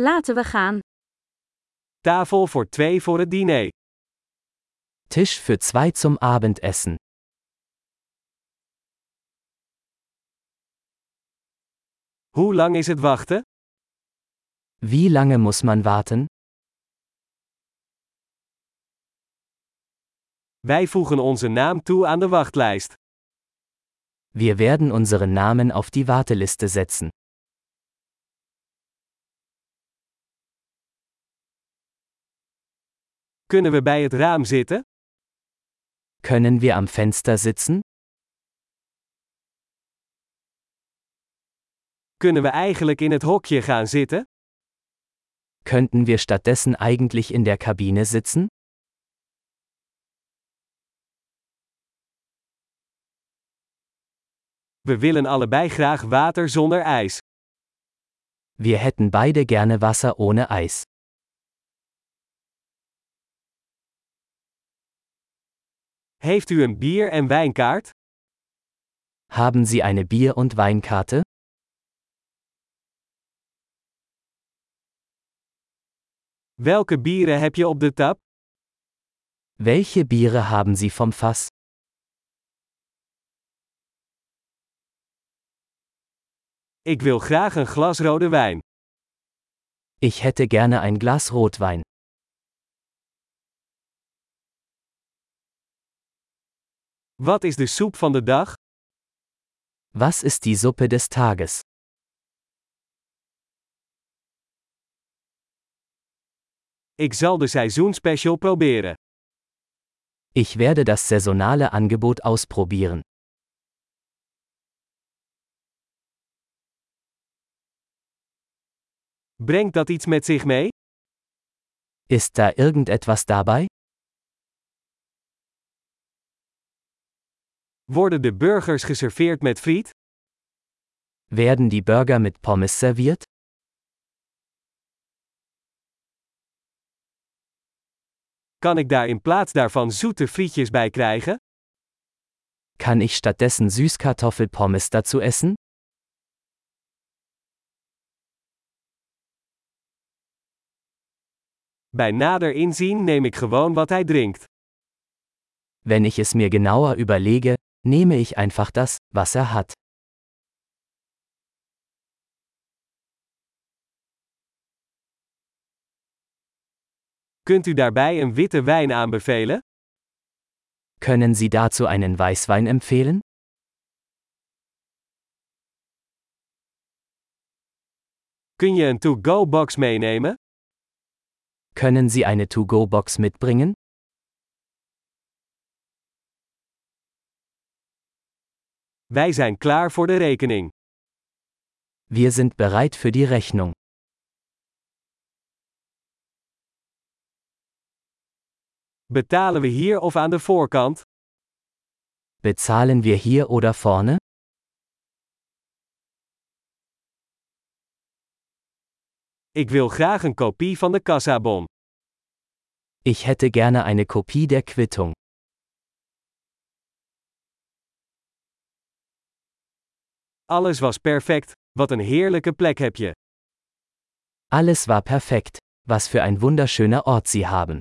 Laten we gaan. Tafel voor twee voor het diner. Tisch für zwei zum Abendessen. Hoe lang is het wachten? Wie lange muss man warten? Wij voegen onze naam toe aan de wachtlijst. Wir werden unseren Namen auf die Warteliste setzen. Kunnen we bij het raam zitten? Können wir am Fenster sitzen? Kunnen we eigenlijk in het hokje gaan zitten? Könnten wir stattdessen eigentlich in der Kabine sitzen? We willen allebei graag water zonder ijs. Wir hätten beide gerne Wasser ohne Eis. Heeft u een bier- en wijnkaart? Haben Sie eine Bier- und Weinkarte? Welke bieren heb je op de tap? Welche Biere haben Sie vom Fass? Ik wil graag een glas rode wijn. Ich hätte gerne ein Glas Rotwein. Wat is de soep van de dag? Was ist die Suppe des Tages? Ik zal de seizoenspecial proberen. Ich werde das saisonale Angebot ausprobieren. Brengt dat iets met zich mee? Ist da irgendetwas dabei? Worden de burgers geserveerd met friet? Werden die Burger mit Pommes serviert? Kan ik daar in plaats daarvan zoete frietjes bij krijgen? Kann ich stattdessen Süßkartoffelpommes dazu essen? Bij nader inzien neem ik gewoon wat hij drinkt. Wenn ich es mir genauer überlege, nehme ich einfach das, was er hat. Kunt u daarbij een witte wijn aanbevelen? Können Sie dazu einen Weißwein empfehlen? Kun je een to-go-box meenemen? Können Sie eine To-Go-Box mitbringen? Wij zijn klaar voor de rekening. Wir sind bereit für die Rechnung. Betalen we hier of aan de voorkant? Bezahlen wir hier oder vorne? Ik wil graag een kopie van de kassabon. Ich hätte gerne eine Kopie der Quittung. Alles was perfect. Wat een heerlijke plek heb je. Alles war perfekt. Was für ein wunderschöner Ort Sie haben.